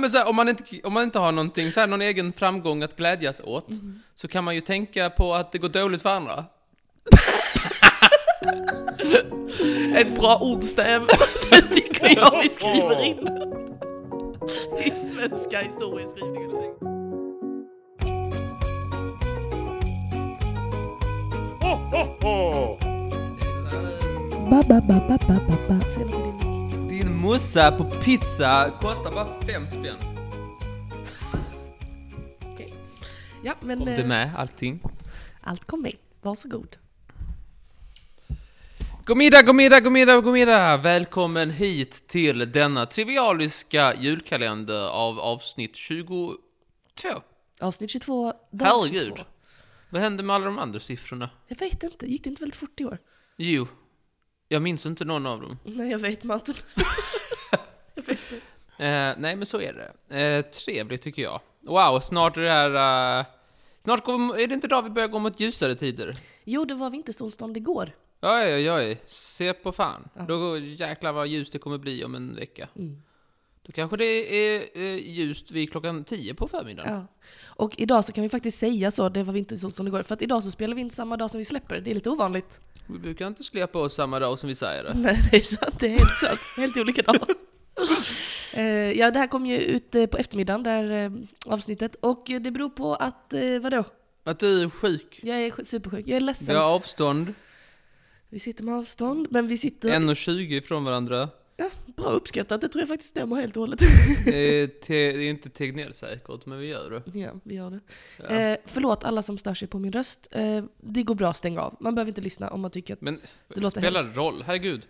Men så här, om, man inte, om man inte har någonting, så här, någon egen framgång att glädjas åt, så kan man ju tänka på att det går dåligt för andra. Ett bra ordstäv, det tycker jag vi skriver in i svenska historieskrivningen. Ba, ba, ba, ba, ba, ba, ba. Säg något i din- Din mossa på pizza kostar bara fem spänn. Ja, men Om det är eh, med allting. allt kom med. Varsågod. God middag, god middag, god middag, god middag! Välkommen hit till denna trivialiska julkalender av avsnitt 22. Avsnitt 22, dag Herregud! 22. Vad hände med alla de andra siffrorna? Jag vet inte, gick det inte väldigt fort i år? Jo, jag minns inte någon av dem. Nej, jag vet Martin. jag vet inte. Eh, nej, men så är det. Eh, trevligt tycker jag. Wow, snart är det här... eh, snart går, är det inte idag vi börjar gå mot ljusare tider? Jo, det var vintersolstånd igår. Oj, oj, oj. Se på fan. Då går, jäklar vad ljust det kommer bli om en vecka. Mm. Då kanske det är eh, ljust vid klockan 10 på förmiddagen. Ja. Och idag så kan vi faktiskt säga så, det var vintersolstånd igår. För att idag så spelar vi in samma dag som vi släpper det. Det är lite ovanligt. Vi brukar inte släppa oss samma dag som vi säger det. Nej, det är sant. Det är helt sant. Helt olika dagar. Eh, ja, det här kom ju ut eh, på eftermiddagen, det här eh, avsnittet. Och eh, det beror på att, eh, vadå? Att du är sjuk. Jag är sj- supersjuk, jag är Vi ledsen. har avstånd. Vi sitter med avstånd, men vi sitter... 1,20 ifrån varandra. Ja, bra uppskattat, det tror jag faktiskt stämmer helt och hållet. Det är, te, det är inte tekniskt säkert, men vi gör det. ja, vi gör det. Ja. Eh, förlåt alla som stör sig på min röst. Eh, det går bra att stänga av. Man behöver inte lyssna om man tycker att... Men Det låter spelar hemskt. det roll? Herregud.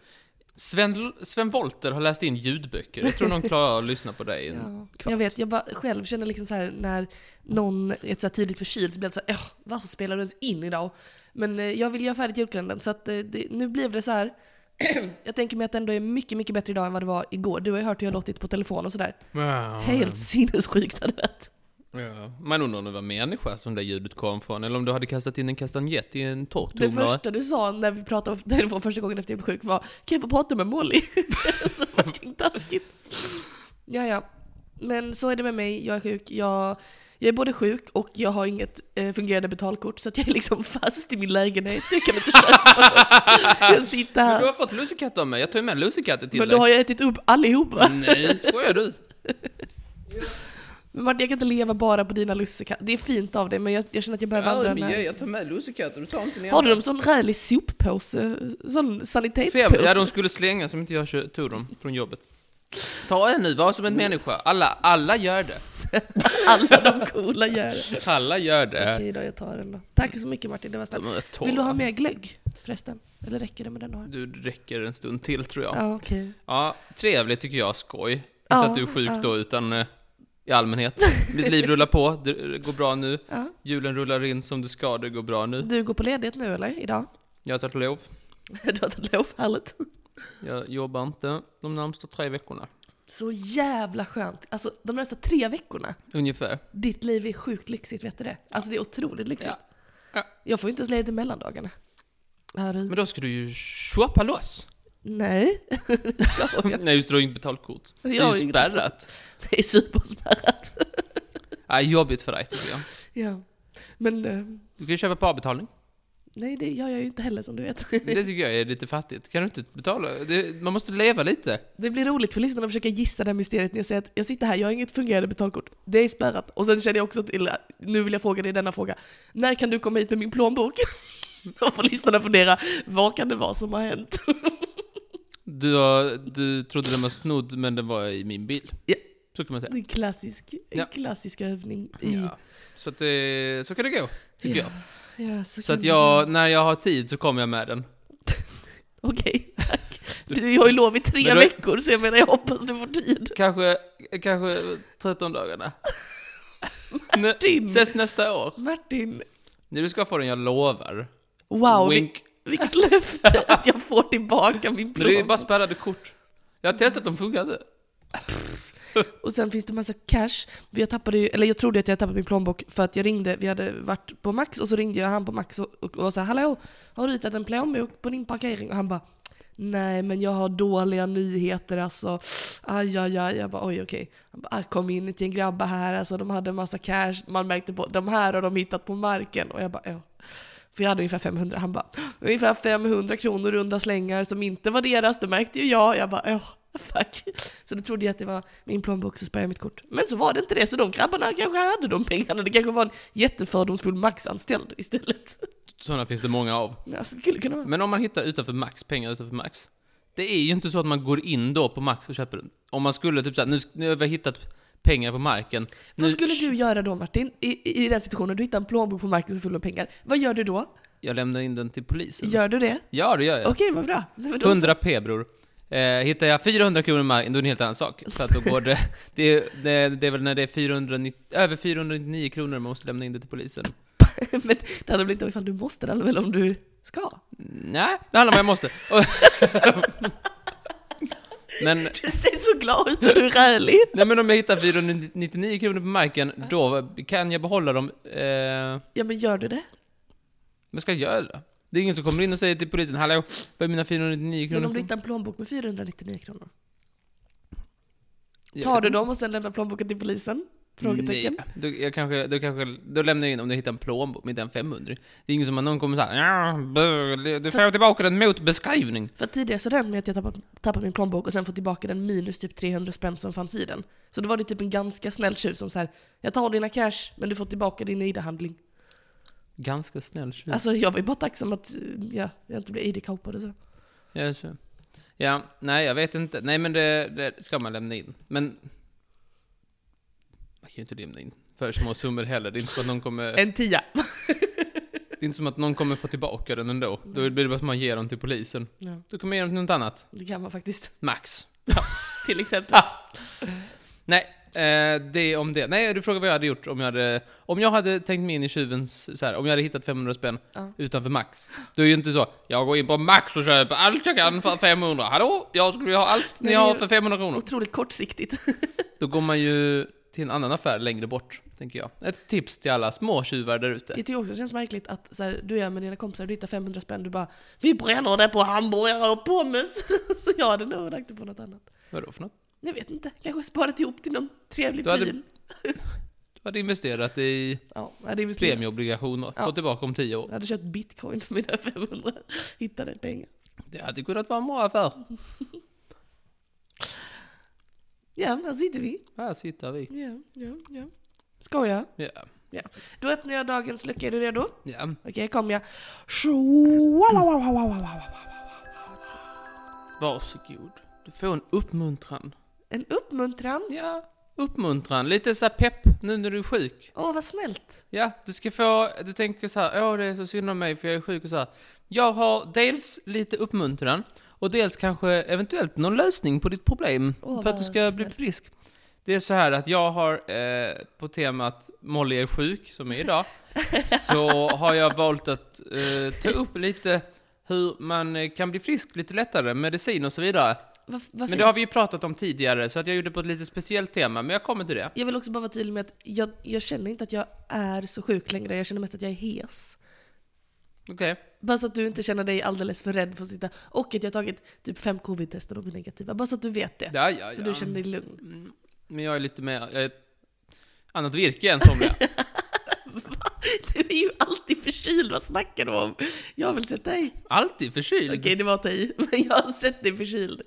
Sven, Sven Volter har läst in ljudböcker. Jag tror någon klarar att lyssna på dig. Ja, jag vet, jag bara själv känner liksom så här när någon är så här tydligt förkyld så blir jag så här, "Åh, varför spelar du ens in idag? Men eh, jag vill göra färdigt julkalendern så att eh, det, nu blev det så här. jag tänker mig att det ändå är mycket, mycket bättre idag än vad det var igår. Du har ju hört hur jag låtit på telefon och sådär. Helt sinnessjukt hade det varit. Ja. Man undrar om det var människa som det ljudet kom från, eller om du hade kastat in en kastanjett i en Det torktumlare. första du sa när vi pratade på telefon första gången efter jag blev sjuk var Kan jag få prata med Molly? så fucking taskigt. Ja, ja. Men så är det med mig, jag är sjuk. Jag, jag är både sjuk och jag har inget eh, fungerande betalkort så att jag är liksom fast i min lägenhet. Jag kan inte köpa något. Jag sitter Men Du här. har fått lussekatt av mig, jag tar ju med lussekatter till Mm. Men då dig. har jag ätit upp allihopa. Nej, skojar du? Men Martin, jag kan inte leva bara på dina lussekatter. Det är fint av dig men jag, jag känner att jag behöver andra nä- tar med lussekatter, du tar inte ner Har du dem sån rälig soppåse? Sån Fem, ja de sanitetspåse? skulle slänga som inte jag kö- tog dem från jobbet. Ta en nu, var som en Mm. människa. Alla, alla gör det. Alla de coola gör det. Alla gör det. Okej då, jag tar den då. Tack så mycket Martin, det var snällt. De är torra. Vill du ha mer glögg förresten? Eller räcker det med den du har? Du räcker en stund till tror jag. Ja, Mm. Ja, okej. trevligt tycker jag, skoj. Inte Ja, att du är sjuk ja. då, utan eh, i allmänhet. Mitt liv rullar på, det det går bra nu. Ja. Julen rullar in som det ska, det går bra nu. Du går på ledighet nu eller? Idag? Jag har tagit lov. Du har tagit lov, härligt. Jag jobbar inte de närmsta tre veckorna, Så jävla skönt. Alltså de nästa tre veckorna, ungefär. ditt liv är sjukt lyxigt, vet du det? Alltså det är otroligt lyxigt. Ja. Ja. Jag får ju inte ens ledigt i mellandagarna. Är du? Men då ska du ju shoppa loss. Nej. Nej, just det, du har ju inte betalkort. Det Jag är har ju inget spärrat. Det är superspärrat. Nej, jobbigt för dig tycker jag. Ja. Men eh, Du kan ju köpa på avbetalning. nej, det gör jag ju inte heller som du vet. Det tycker jag är lite fattigt. Kan du inte betala? Det, man måste leva lite. Det blir roligt för lyssnarna att försöka gissa det här mysteriet när jag säger att jag sitter här, jag har inget fungerande betalkort. Det är spärrat. Och sen känner jag också till, nu vill jag fråga dig denna fråga. När kan du komma hit med min plånbok? Då får lyssnarna fundera, vad kan det vara som har hänt? Du, har, du trodde den var snodd, men den var i min bil. Ja. Så kan man säga. En klassisk, en Ja. klassisk övning i... Ja. Så, att det, så kan det gå, tycker Ja, jag. ja, så Så kan att det jag, vara. när jag har tid så kommer jag med den. Okej, tack. Du har ju lov i tre Men då- veckor, så jag menar jag hoppas du får tid. Kanske, kanske 13 dagarna. Nä, Martin. ses nästa år. Martin, När du ska få den, jag lovar. wow, vil- Wink. vilket löfte att jag får tillbaka min Men det är bara plånbok. spärrade kort. Jag har testat, de funkar inte. Och sen finns det massa cash. Jag, tappade ju, eller jag trodde att jag tappat min plånbok för att jag ringde, vi hade varit på Max och så ringde jag han på Max och, och, och var såhär Hallå, har du hittat en plånbok på din parkering? Och han bara Nej, men jag har dåliga nyheter alltså. Aj, aj, aj. Jag bara oj, okej. Han bara, "Ah, kom in ett gäng grabbar här, alltså de hade en massa cash. Man märkte på, de här har de hittat på marken. Och jag bara, ja. För jag hade ungefär 500. Han bara, ungefär 500 kronor runda slängar som inte var deras, det märkte ju jag. Jag bara, ja. Fuck. Så då trodde jag att det var min plånbok som spärrade mitt kort. Men så var det inte det, så de grabbarna kanske hade de pengarna. Det kanske var en jättefördomsfull maxanställd istället. Sådana finns det många av. Alltså, det skulle kunna vara. Men om man hittar utanför Max, pengar utanför Max. Det är ju inte så att man går in då på Max och köper den. Om man skulle typ såhär, nu, nu har vi hittat pengar på marken. Nu, Vad skulle du göra då Martin, i, i den situationen? Du hittar en plånbok på marken som är full med pengar. Vad gör du då? Jag lämnar in den till polisen. Ja, Gör du det? det gör jag. Okej, vad bra. Nej, men då så. 100 p bror. Eh, hittar jag 400 kronor i marken, då är det en helt annan sak. För att då går det, det, är- det, det är väl när det är 490, över 499 kronor man måste lämna in det till polisen. men det handlar väl inte om ifall du måste, det handlar väl om du ska? Nej, det handlar om vad jag måste. Och- Men Du ser så glad ut när du är rälig. Nej men om jag hittar 499 kronor på marken, då kan jag behålla dem. Eh, Ja, men gör du det? men ska jag göra det? Det är ingen som kommer in och säger till polisen, hallå, var är mina 499 kronor? Men om du från?" hittar en plånbok med 499 kronor? Jag Tar vet du inte. dem och sen lämnar plånboken till polisen? Frågetecken. Nej, då, jag kanske, då, kanske, då lämnar jag in om jag hittar en plånbok med den 500. Det är ingen som att någon kommer såhär, "Ja, bu- du får tillbaka den mot beskrivning. För att tidigare så hände det mig att jag tappade, tappade min plånbok och sen fått tillbaka den minus typ 300 spänn som fanns i den. Så då var det typ en ganska snäll tjuv som så här, jag tar dina cash men du får tillbaka din ID-handling. Ganska snäll tjuv. Alltså jag var ju bara tacksam att eh, ja, jag inte blev ID-kapad och så. Ja, så. ja, nej jag vet inte. Nej men det, det ska man lämna in. Men man kan ju inte lämna in för små summor heller. Det är inte så att någon kommer... En tia! Det är inte som att någon kommer få tillbaka den ändå. Då blir det bara att man ger den till polisen. Ja, Då kommer man ge den till något annat. det kan man faktiskt. Max. Till exempel. Nej, eh, det är om det. Nej, du frågar vad jag hade gjort om jag hade... Om jag hade tänkt mig in i tjuvens... Så här, om jag hade hittat 500 spänn Ja. utanför Max. Då är det ju inte så. Jag går in på Max och köper allt jag kan för 500. Hallå? Jag skulle vilja ha allt ni Nej, det är har ju- för 500 kronor. Otroligt kortsiktigt. Då går man ju till en annan affär längre bort, tänker jag. Ett tips till alla små tjuvar där Jag ute. tycker också det känns märkligt att så här, du är med dina kompisar, du hittar 500 spänn, du bara Vi bränner det på hamburgare och pommes! så jag hade nog lagt det på något annat. Vadå för något? Jag vet inte, kanske sparat ihop till någon trevlig Du hade- pryl. Du hade investerat i Ja, jag hade investerat. premieobligationer. Ja. Fått tillbaka om 10 år. Jag hade köpt bitcoin för mina 500. Hittade pengar. Det hade kunnat vara en bra affär. Ja, här sitter vi. Här sitter vi. Ja, ja, ja. Skoja. Ja, Då öppnar jag dagens lucka. Är du redo? ja. Okej, här kommer jag. Varsågod. Du får en uppmuntran. En uppmuntran. Ja, uppmuntran. Lite så här pepp nu när du är sjuk. Åh, vad snällt. Ja, du ska få, du tänker så här, åh det är så synd om mig för jag är sjuk och så här. Jag har dels lite uppmuntran och dels kanske eventuellt någon lösning på ditt problem Åh, för att du vad ska bli snällt. frisk. Det är så här att jag har eh, på temat Molly är sjuk, som är idag, så har jag valt att eh, ta upp lite hur man eh, kan bli frisk lite lättare, medicin och så vidare. Vad, vad Men fint. det har vi ju pratat om tidigare, så att jag gjorde på ett lite speciellt tema, men jag kommer till det. Jag vill också bara vara tydlig med att jag, jag känner inte att jag är så sjuk längre. Jag känner mest att jag är hes. Okej. Bara så att du inte känner dig alldeles för rädd för att sitta... Och att jag har tagit typ fem covid-tester och de är negativa. Bara så att du vet det. Ja, ja, Så ja. du känner dig lugn. Mm, Men jag är lite mer, jag är ett annat virke än somliga. Du är ju alltid förkyld, vad snackar du om? Jag har väl sett dig? Alltid förkyld. Okej, det var att ta i, men jag har sett dig förkyld.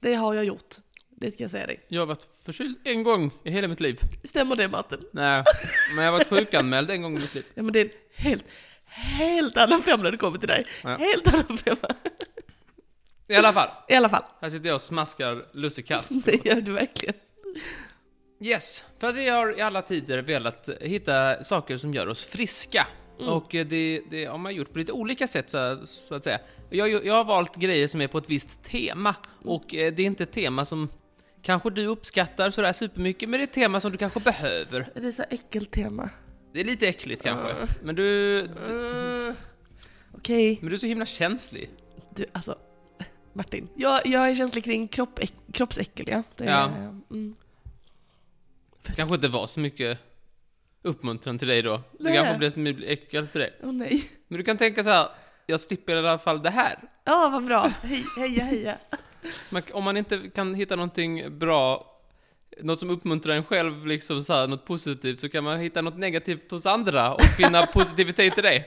Det har jag gjort, det ska jag säga dig. Jag har varit förkyld en gång i hela mitt liv. Stämmer det Martin? Nej, men jag har varit sjukanmäld en gång i mitt liv. Ja men det är en helt, helt annan femma när det kommer till dig. Ja. Helt annan femma. I alla fall, I alla fall, här sitter jag och smaskar lussekatt. det gör du verkligen. Yes, för att vi har i alla tider velat hitta saker som gör oss friska. Och eh, det, det har man gjort på lite olika sätt så, så att säga. Jag, har ju- jag har valt grejer som är på ett visst tema och eh, det är inte ett tema som kanske du uppskattar sådär supermycket men det är ett tema som du kanske behöver. Det är så här äckeltema. Det är lite äckligt kanske. Men du, du, Mm. Okej, men du är så himla känslig. du alltså. Martin, jag, jag är känslig kring kropp, äck, kroppsäckel ja. Det är, Ja. Mm. Kanske inte var så mycket uppmuntran till dig då. Det Nej. kanske blev så mycket äckel till dig. Åh nej. Men du kan tänka så här. jag slipper i alla fall det här. Ja, vad bra. Hej, heja, heja. Man, om man inte kan hitta någonting bra, något som uppmuntrar en själv, liksom så här, något positivt, så kan man hitta något negativt hos andra och finna positivitet i det.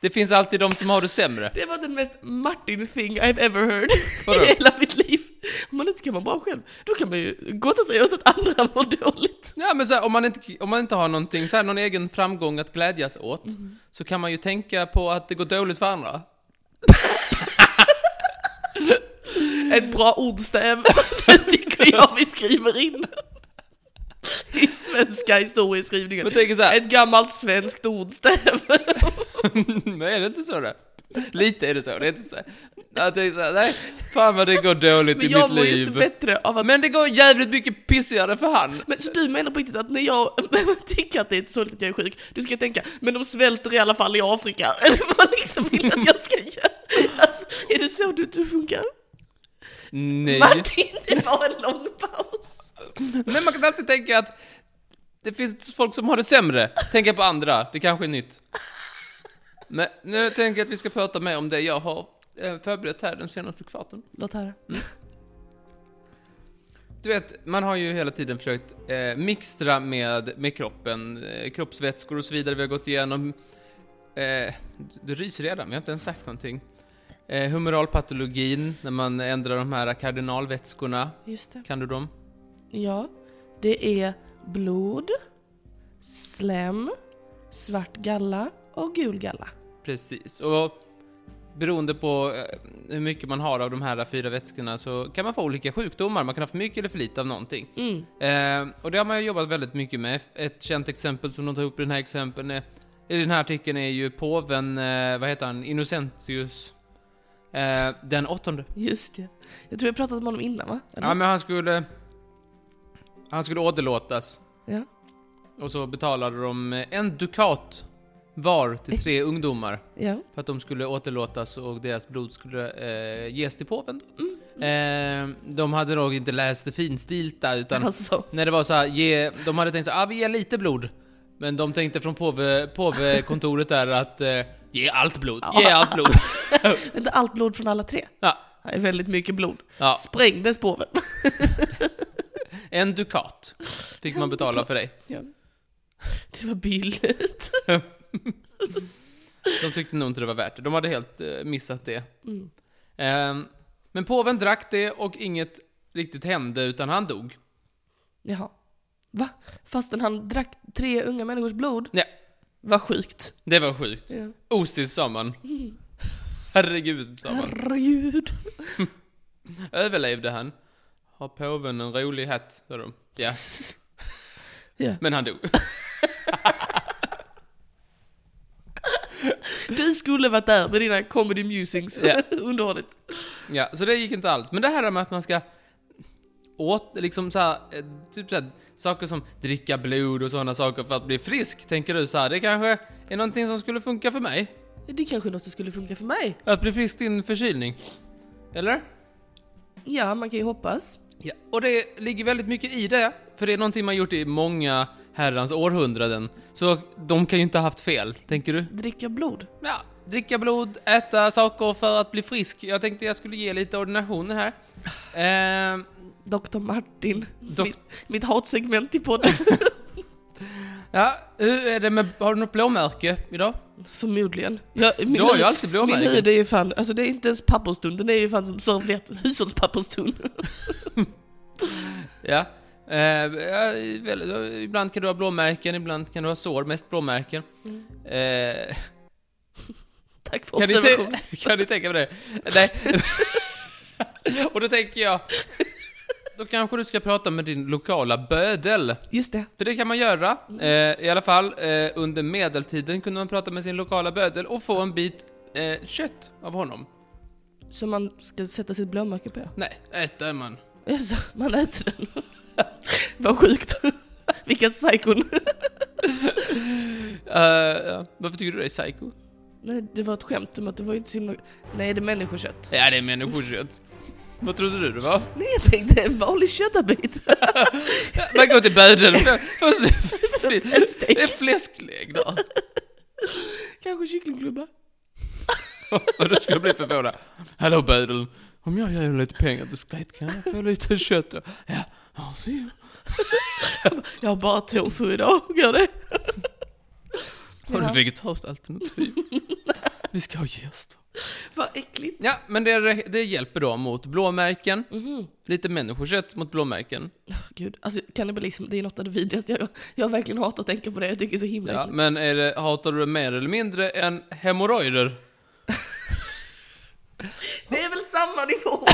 Det finns alltid de som har det sämre. Det var den mest Martin thing I've ever heard Vadå? i hela mitt liv. Om man inte kan vara bra själv, då kan man ju gott och säga åt att andra mår dåligt. Ja, men så här, om, man inte, om man inte har någonting, så här, någon egen framgång att glädjas åt, så kan man ju tänka på att det går dåligt för andra. Ett bra ordstäv, det tycker jag vi skriver in. I svenska historieskrivningen. Man tänker så här, Ett gammalt svenskt ordstäv. men är det inte så det? Lite är det så, det är inte så. Att det är så här, nej, fan vad det går dåligt Men i jag mitt mår ju inte liv. bättre av att... Men det går jävligt mycket pissigare för han. Men så du menar på riktigt att när jag tycker att det är så dåligt att jag är sjuk, du ska tänka men de svälter i alla fall i Afrika, eller vad liksom vill du att jag ska göra? Alltså, är det så du, du funkar? Nej. Martin, det var en lång paus. Men man kan alltid tänka att det finns folk som har det sämre. Tänka på andra, det kanske är nytt. Men nu tänker jag att vi ska prata mer om det jag har eh, förberett här den senaste kvarten. Låt höra. Du vet, man har ju hela tiden försökt eh, mixtra med, med kroppen, eh, kroppsvätskor och så vidare. Vi har gått igenom... Eh, du- du ryser redan, men jag har inte ens sagt någonting. Eh, humoralpatologin, när man ändrar de här kardinalvätskorna. Just det. Kan du dem? Ja, det är blod, slem, svart galla och gul galla. Precis, och beroende på eh, hur mycket man har av de här fyra vätskorna så kan man få olika sjukdomar. Man kan ha för mycket eller för lite av någonting. Mm. Eh, och det har man ju jobbat väldigt mycket med. Ett känt exempel som de tar upp i den här exempeln är, i den här artikeln är ju påven, eh, vad heter han, Innocentius eh, den åttonde. Just det. Jag tror jag pratat om honom innan va? Eller? Ja, men han skulle, han skulle åderlåtas Ja. och så betalade de eh, en dukat var till tre ungdomar. ja. För att de skulle återlåtas och deras blod skulle eh, ges till påven. då. Eh, de hade nog inte läst det finstilta utan Alltså. när det var så här, ge, de hade tänkt så här, ah, vi ger lite blod. Men de tänkte från påve, påvekontoret där att eh, ge allt blod, ge allt blod. Inte allt blod från alla tre. Ja, Det är väldigt mycket blod. Ja. Sprängdes påven. en dukat fick man betala för dig. Ja. Det var billigt. De tyckte nog inte det var värt det. De hade helt eh, missat det. Mm. Eh, men påven drack det och inget riktigt hände utan han dog. Jaha. Va? Fastän han drack tre unga människors blod? Nej, Vad sjukt. det var sjukt. Ja. Osis sa man. Herregud sa man. Herregud. Överlevde han? Har påven en rolig hatt? sa de. Ja. Ja. Men han dog. Du skulle varit där med dina comedy musings. Ja. Underhålligt. Ja, så det gick inte alls. Men det här med att man ska åt, liksom så här, eh, typ så här, saker som dricka blod och sådana saker för att bli frisk, tänker du så här, det kanske är någonting som skulle funka för mig? Det är kanske är något som skulle funka för mig. Att bli frisk i en förkylning? Eller? Ja, man kan ju hoppas. Ja, och det ligger väldigt mycket i det, för det är någonting man gjort i många herrans århundraden. Så de kan ju inte ha haft fel, tänker du? Dricka blod. Ja, dricka blod, äta saker för att bli frisk. Jag tänkte jag skulle ge lite ordinationer här. Eh, Dr. Martin. Dok- mitt, mitt hatsegment i podden. ja, hur är det med, har du något blåmärke idag? Förmodligen. Jag, min Du har ju hud- alltid min blåmärken. hud är ju fan, alltså det är inte ens papperstun, den är ju fan som servett, hushållspapperstun. Ja. Eh, ja, väl, ibland kan du ha blåmärken, ibland kan du ha sår, mest blåmärken. Eh, Tack för kan, ni observationen. tä- kan ni tänka på det? Nej. Och då tänker jag, då kanske du ska prata med din lokala bödel. Just det. För det kan man göra. Eh, I alla fall, eh, under medeltiden kunde man prata med sin lokala bödel och få en bit eh, kött av honom. Som man ska sätta sitt blåmärke på. Nej, äter man. Alltså, man äter den. Vad sjukt. Vilka psykon. Eh, ja. varför tycker du det är psycho? Nej, det var ett skämt om att det var inte så himla... Nej, det är människokött. Ja, det är människokött. Vad trodde du det var? Nej, jag tänkte en vanlig köttabit. Man går till bödeln. Först- först- Ett steak. Det är fläsklägg där. Kanske kycklingklubba. Och då skulle jag bli förvånad. Hallå Bödel, om jag ger dig lite pengar till skate kan jag få lite kött? då?" Ja, ja, så är det. Jag har bara tofu idag, går det? Har Ja. du vegetariskt alternativ? Vi ska ha gäster. Vad äckligt. Ja, men det, det hjälper då mot blåmärken. Mhm. Lite människokött mot blåmärken. Gud, alltså kannibalism, det är något av det vidrigaste jag, jag har verkligen hatat att tänka på det. Jag tycker det är så himla Ja, äckligt. men är det, hatar du det mer eller mindre än hemorrojder? Det är väl samma nivå?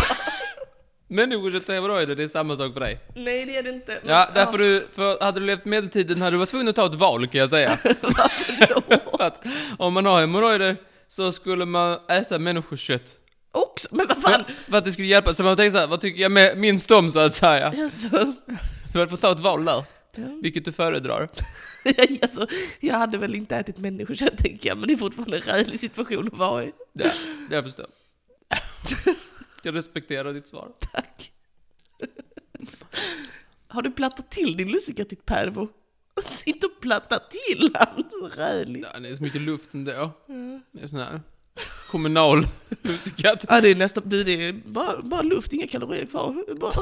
Människokött och hemorrojder, det är samma sak för dig. Nej det är det inte. Men- Ja, därför du, för hade du levt medeltiden hade du varit tvungen att ta ett val kan jag säga. Vadå? För att om man har hemorrojder så skulle man äta människokött. Också? Men vad fan? För, för att det skulle hjälpa, så man tänkte såhär, vad tycker jag med, minst om så att säga? Alltså, Du hade fått ta ett val där, ja. vilket du föredrar. alltså, jag hade väl inte ätit människokött tänker jag, men det är fortfarande en rälig situation att vara i. Ja, det jag förstår. Jag respekterar ditt svar. Tack. Har du plattat till din lussekatt pervo? Sitt och platta till han, så rälig. Ja, det är så mycket luft ändå. Det är sån här kommunal lussekatt. Ja det är nästan, du det är bara, bara luft, inga kalorier kvar. Bara.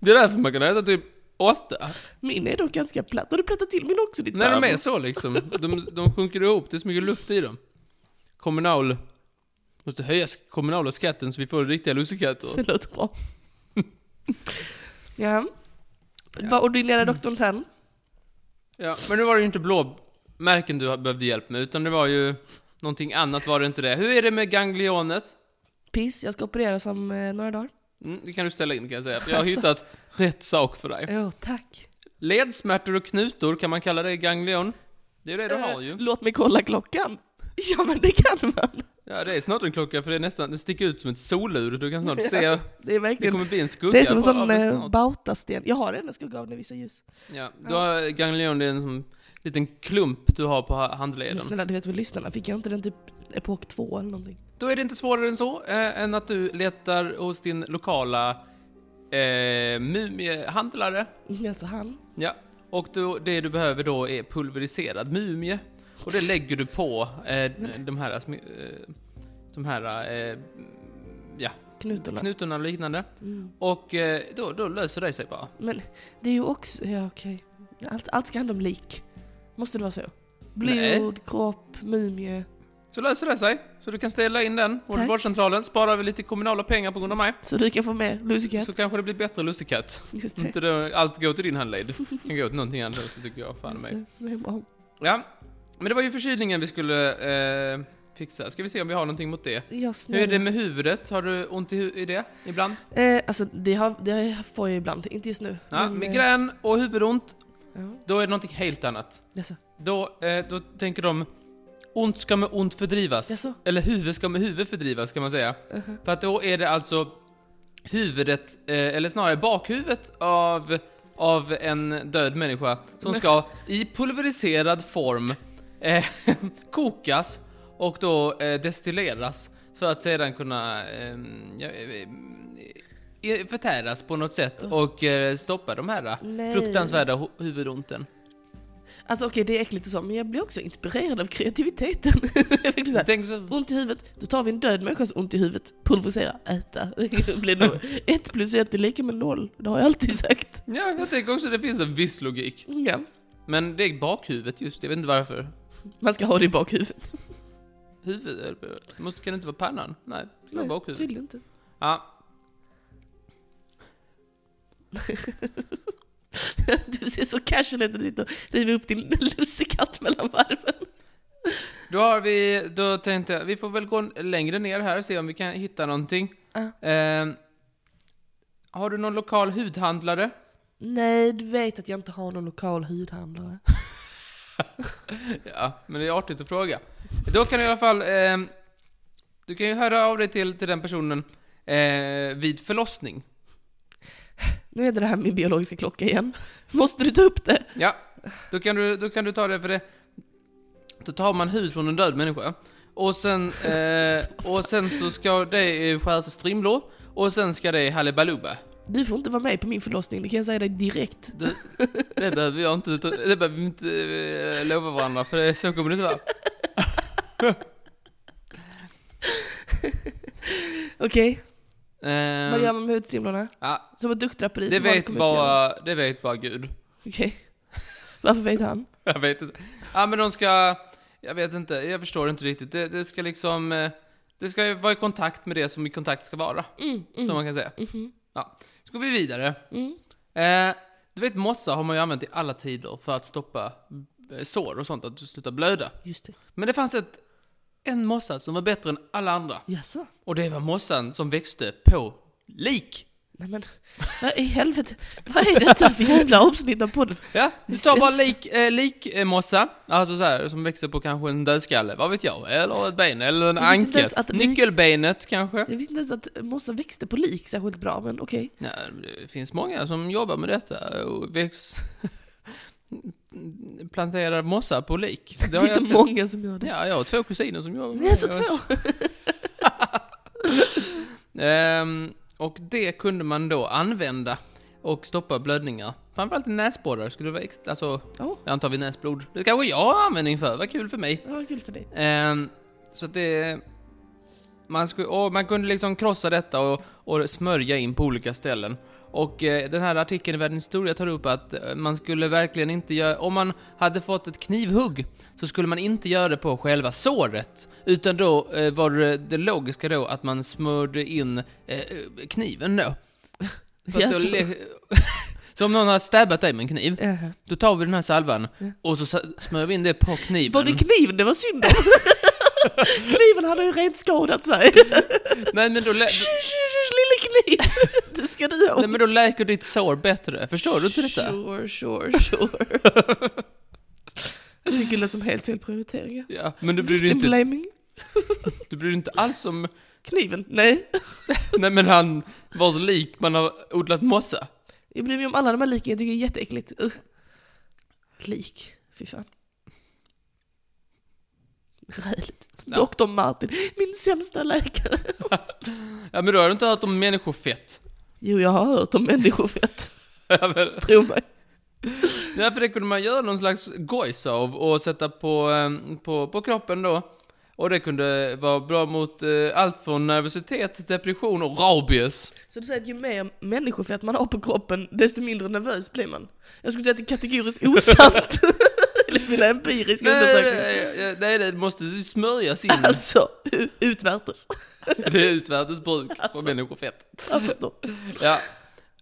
Det är därför man kan äta typ åtta. Min är dock ganska platt, har du plattat till min också ditt När de pervo? är så liksom. De, de sjunker ihop, det är så mycket luft i dem. Kommunal... Måste höja sk- kommunala skatten så vi får riktiga lussekatter. Det låter bra. ja. Vad ordinerade doktorn sen? Ja, men nu var det ju inte blåmärken du behövde hjälp med, utan det var ju... Någonting annat var det inte det. Hur är det med ganglionet? Piss, jag ska opereras om eh, några dagar. Mm, det kan du ställa in kan jag säga, för jag har Alltså. hittat rätt sak för dig. Ja, tack. Ledsmärtor och knutor, kan man kalla det ganglion? Det är det du har ju. Låt mig kolla klockan. Ja men det kan man. Ja, det är snart en klocka för det är nästan, det sticker ut som ett solur. Du kan snart se, Det är det verkligen... kommer bli en skugga. Det är som en på- av sån det eh, snart. bautasten. Jag har en, jag ska gå av den i vissa ljus. Ja, du har ganglion, det är en sån liten klump du har på ha- Men handleden. snälla, du vet väl lyssnarna, fick jag inte den typ epok 2 eller någonting? Då är det inte svårare än så, eh, än att du letar hos din lokala eh, mumiehandlare. Alltså han. Ja, och då, det du behöver då är pulveriserad mumie. Och det lägger du på eh, de här, smi- eh, de här eh, ja, Knutorna. knutorna och liknande. Mm. Och eh, då, då löser det sig bara. Men det är ju också, ja okej. Allt, allt ska handla om lik. Måste det vara så? Blod, Nej. kropp, mumie. Så löser det sig. Så du kan ställa in den på Tack. vårdcentralen. Sparar vi lite kommunala pengar på grund av mig. Så du kan få med lussekatt. Så kanske det blir bättre lussekatt. Just det. Inte då, allt går till din handled. kan gå till någonting annat så tycker jag fan mig. Så, det är bra. Ja, men det var ju förkylningen vi skulle eh, fixa. Ska vi se om vi har någonting mot det. Ja, Hur är snälla. det med huvudet? Har du ont i, hu- i det ibland? Eh, alltså det, har, det får jag ibland, inte just nu. Ja, men, eh, migrän och huvudont, Ja, då är det någonting helt annat. jaså. Då, eh, då tänker de ont ska med ont fördrivas. Jaså? Eller huvud ska med huvud fördrivas kan man säga. Mhm. För att då är det alltså huvudet, eh, eller snarare bakhuvudet av, av en död människa som ska i pulveriserad form eh, kokas och då eh, destilleras för att sedan kunna eh, ja, eh, eh, förtäras på något sätt och eh, stoppa de här Oh. Nej. fruktansvärda hu- huvudonten. Alltså okej, det är äckligt och så, men jag blir också inspirerad av kreativiteten. jag tänkte så här, Tänk så, ont i huvudet, då tar vi en död människas ont i huvudet, pulverisera, äta. Det blir nog ett plus ett är lika med noll, det har jag alltid sagt. ja, jag tänker också att det finns en viss logik. Ja, Men det är bakhuvudet just, jag vet inte varför. man ska ha det i bakhuvudet. Huvud, eh, måste, kan det inte vara pannan? Nej, det var Nej, typ. bakhuvudet. Tydligen inte. Ja, Du ser så casual ut när du sitter och river upp din lussekatt mellan varven. då har vi, då tänkte jag, vi får väl gå längre ner här och se om vi kan hitta någonting. Ja. Ehm, har du någon lokal hudhandlare? Nej, du vet att jag inte har någon lokal hudhandlare. Ja, men det är artigt att fråga. Då kan du i alla fall, ehm, du kan ju höra av dig till, till den personen eh, vid förlossning. Nu är det det här med min biologiska klocka igen. Måste du ta upp det? Ja, då kan du, då kan du ta det för det. Då tar man hud från en död människa. Och sen, eh, och sen så ska det eh, skäras i strimlor. Och sen ska det halibaluba. Du får inte vara med på min förlossning, det kan jag säga dig direkt. Du, det behöver jag inte, ta- det behöver vi inte eh, lova varandra för det, så kommer det inte vara. Okej, Ehm, vad gör man med hudstrimlorna? ja, Som ett duktdraperi det, som har vet kommit igenom. bara, det vet bara gud. Okej. Varför vet han? Jag vet inte. Ja men de ska, jag vet inte, jag förstår inte riktigt. Det, det ska liksom, eh, det ska ju vara i kontakt med det som i kontakt ska vara. Mm, mm, Som man kan säga. mhm, Så går vi vidare. mm. Eh, du vet mossa har man ju använt i alla tider för att stoppa eh, sår och sånt, att du slutar blöda. Just det. Men det fanns ett, en mossa som var bättre än alla andra. Jaså? Och det var mossan som växte på lik. Nej men, vad i helvete? Vad är detta för jävla avsnitt av podden? Ja, Det det står bara sämsta. lik, eh, likmossa, alltså så här, som växer på kanske en dödskalle, vad vet jag, eller ett ben, eller en Jag visste inte ankel. ens att det- Nyckelbenet kanske? Jag visste inte ens att mossa växte på lik särskilt bra, men okej. Nej, det finns många som jobbar med detta och väx... planterar mossa på lik. Det har Finns jag det sett. många som gör det? Ja, jag har två kusiner som jobbar med Ni är så det. två! Ehm, och det kunde man då använda och stoppa blödningar. Framförallt i näsborrar skulle vara extra, alltså, Ja. jag antar vid näsblod. Det kanske jag har användning för, vad kul för mig. Det var kul för dig. Ehm, så att det... Man, skulle, och man kunde liksom krossa detta och, och smörja in på olika ställen. Och eh, den här artikeln i Världens historia tar upp att eh, man skulle verkligen inte göra... Om man hade fått ett knivhugg så skulle man inte göra det på själva såret. Utan då eh, var det, det logiska då att man smörde in eh, kniven då. Så, att då Jaså? le- så om någon har stabbat dig med en kniv, Jaha. då tar vi den här salvan Ja. och så sa- smörjer vi in det på kniven. Var det kniven det var synd om? Kniven hade ju rent skadat sig. Nej men då... lä- Lille kniv! Det ska du ha. Nej men då läker ditt sår bättre, förstår du inte detta? Sure, sure, sure. Jag tycker det låter som helt fel prioriteringar. Ja, men du bryr dig Victim inte, blaming. du bryr dig inte alls om, Kniven? Nej. nej men han vars lik man har odlat mossa. Jag bryr mig om alla de här liken, jag tycker det är jätteäckligt. Usch. Lik, fy fan. Räligt. Ja. Dr. Martin, min sämsta läkare. Ja men då har du inte hört om människofett. Jo, jag har hört om människofett. Ja, men- Tro mig. Nej för det kunde man göra någon slags gojs av och sätta på, eh, på, på kroppen då. Och det kunde vara bra mot eh, allt från nervositet, depression och rabies. Så du säger att ju mer människofett man har på kroppen, desto mindre nervös blir man? Jag skulle säga att det är kategoriskt osant. Enligt mina empiriska Nej, nej, undersökningar. nej, nej, det måste smörjas in. Alltså, u- utvärtes. Det är utvärtes bruk av människofett. Jag förstår. alltså. Ja.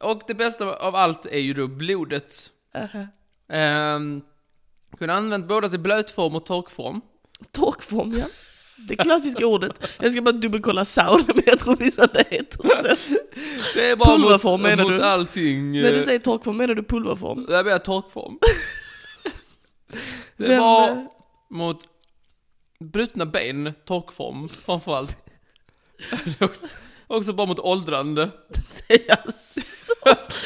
Och det bästa av allt är ju då blodet. Aha. Ehm, kunde ha använt både i blötform och torkform. Torkform, ja. Det klassiska ordet. Jag ska bara dubbelkolla sauna, men jag tror visst att det heter så. Det är bara Pulverform, mot, menar mot du? allting. eh, När du säger torkform menar du pulverform? Det blir torkform. det Vem, eh, var mot brutna ben, torkform framförallt. Det är också, också bara mot åldrande. Jaså?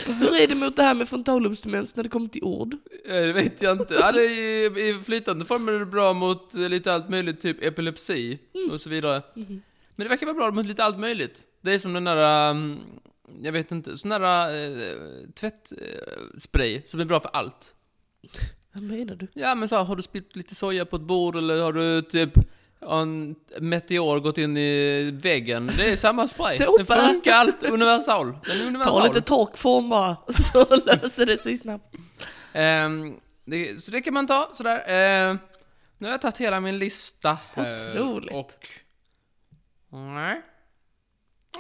Hur är det mot det här med frontallobedsdemens när det kommer till ord? Eh, Det vet jag inte. Ja, det är, i- I flytande form är det bra mot eh, lite allt möjligt, typ epilepsi Mm. och så vidare. Mhm. Men det verkar vara bra mot lite allt möjligt. Det är som den där, um, jag vet inte, sån där eh, tvättspray som är bra för allt. Vad menar du? Ja men så här, har du spillt lite soja på ett bord eller har du typ en meteor gått in i väggen? Det är samma spray. Den Sopa. funkar allt, universal. Den är universal. Ta lite torkform bara, så löser det sig snabbt. Ehm, det, så det kan man ta sådär. Ehm, nu har jag tagit hela min lista här. Otroligt. Och... Nej.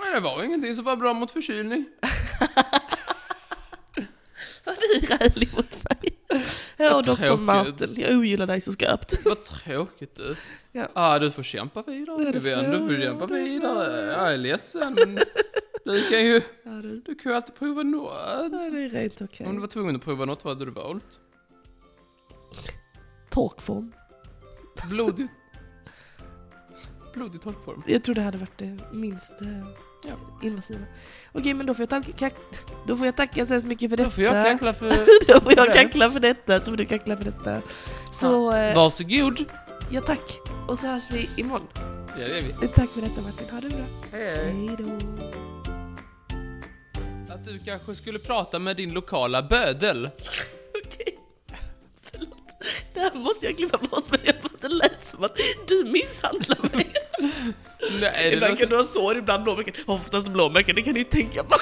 Nej, det var ingenting som var bra mot förkylning. Vad du är rälig mot mig. Ja, doktor tråkigt. Martin, jag ogillar dig så skarpt. Vad tråkigt du. Ja. Ah, du får kämpa vidare. Ja, du det vet, får du får jag, kämpa det får vidare. jag. Jag är ledsen, men du kan ju, Ja, det du kan ju alltid prova något. ja, det är rent okej. Om du var tvungen att prova något, vad hade du valt? Torkform. Blodig... Blodig torkform. Jag tror det hade varit det minst eh, Ja. invasiva. Okej, men då får jag tacka, kack, då får jag tacka så hemskt mycket för detta. Då får jag kackla för... Då får jag Ja. kackla för detta, så får du kackla för detta. Så, eh, Varsågod. ja tack. Och så hörs vi imorgon. Ja, det är vi. Eh, Tack för detta Martin, ha det bra. Hej då. Att du kanske skulle prata med din lokala bödel. Okej. Förlåt. Det här måste jag klippa bort men jag det lät som att du misshandlar mig. Nej, det Ibland låter- kan du ha sår, ibland blåmärken. Oftast blåmärken, det kan ni tänka på.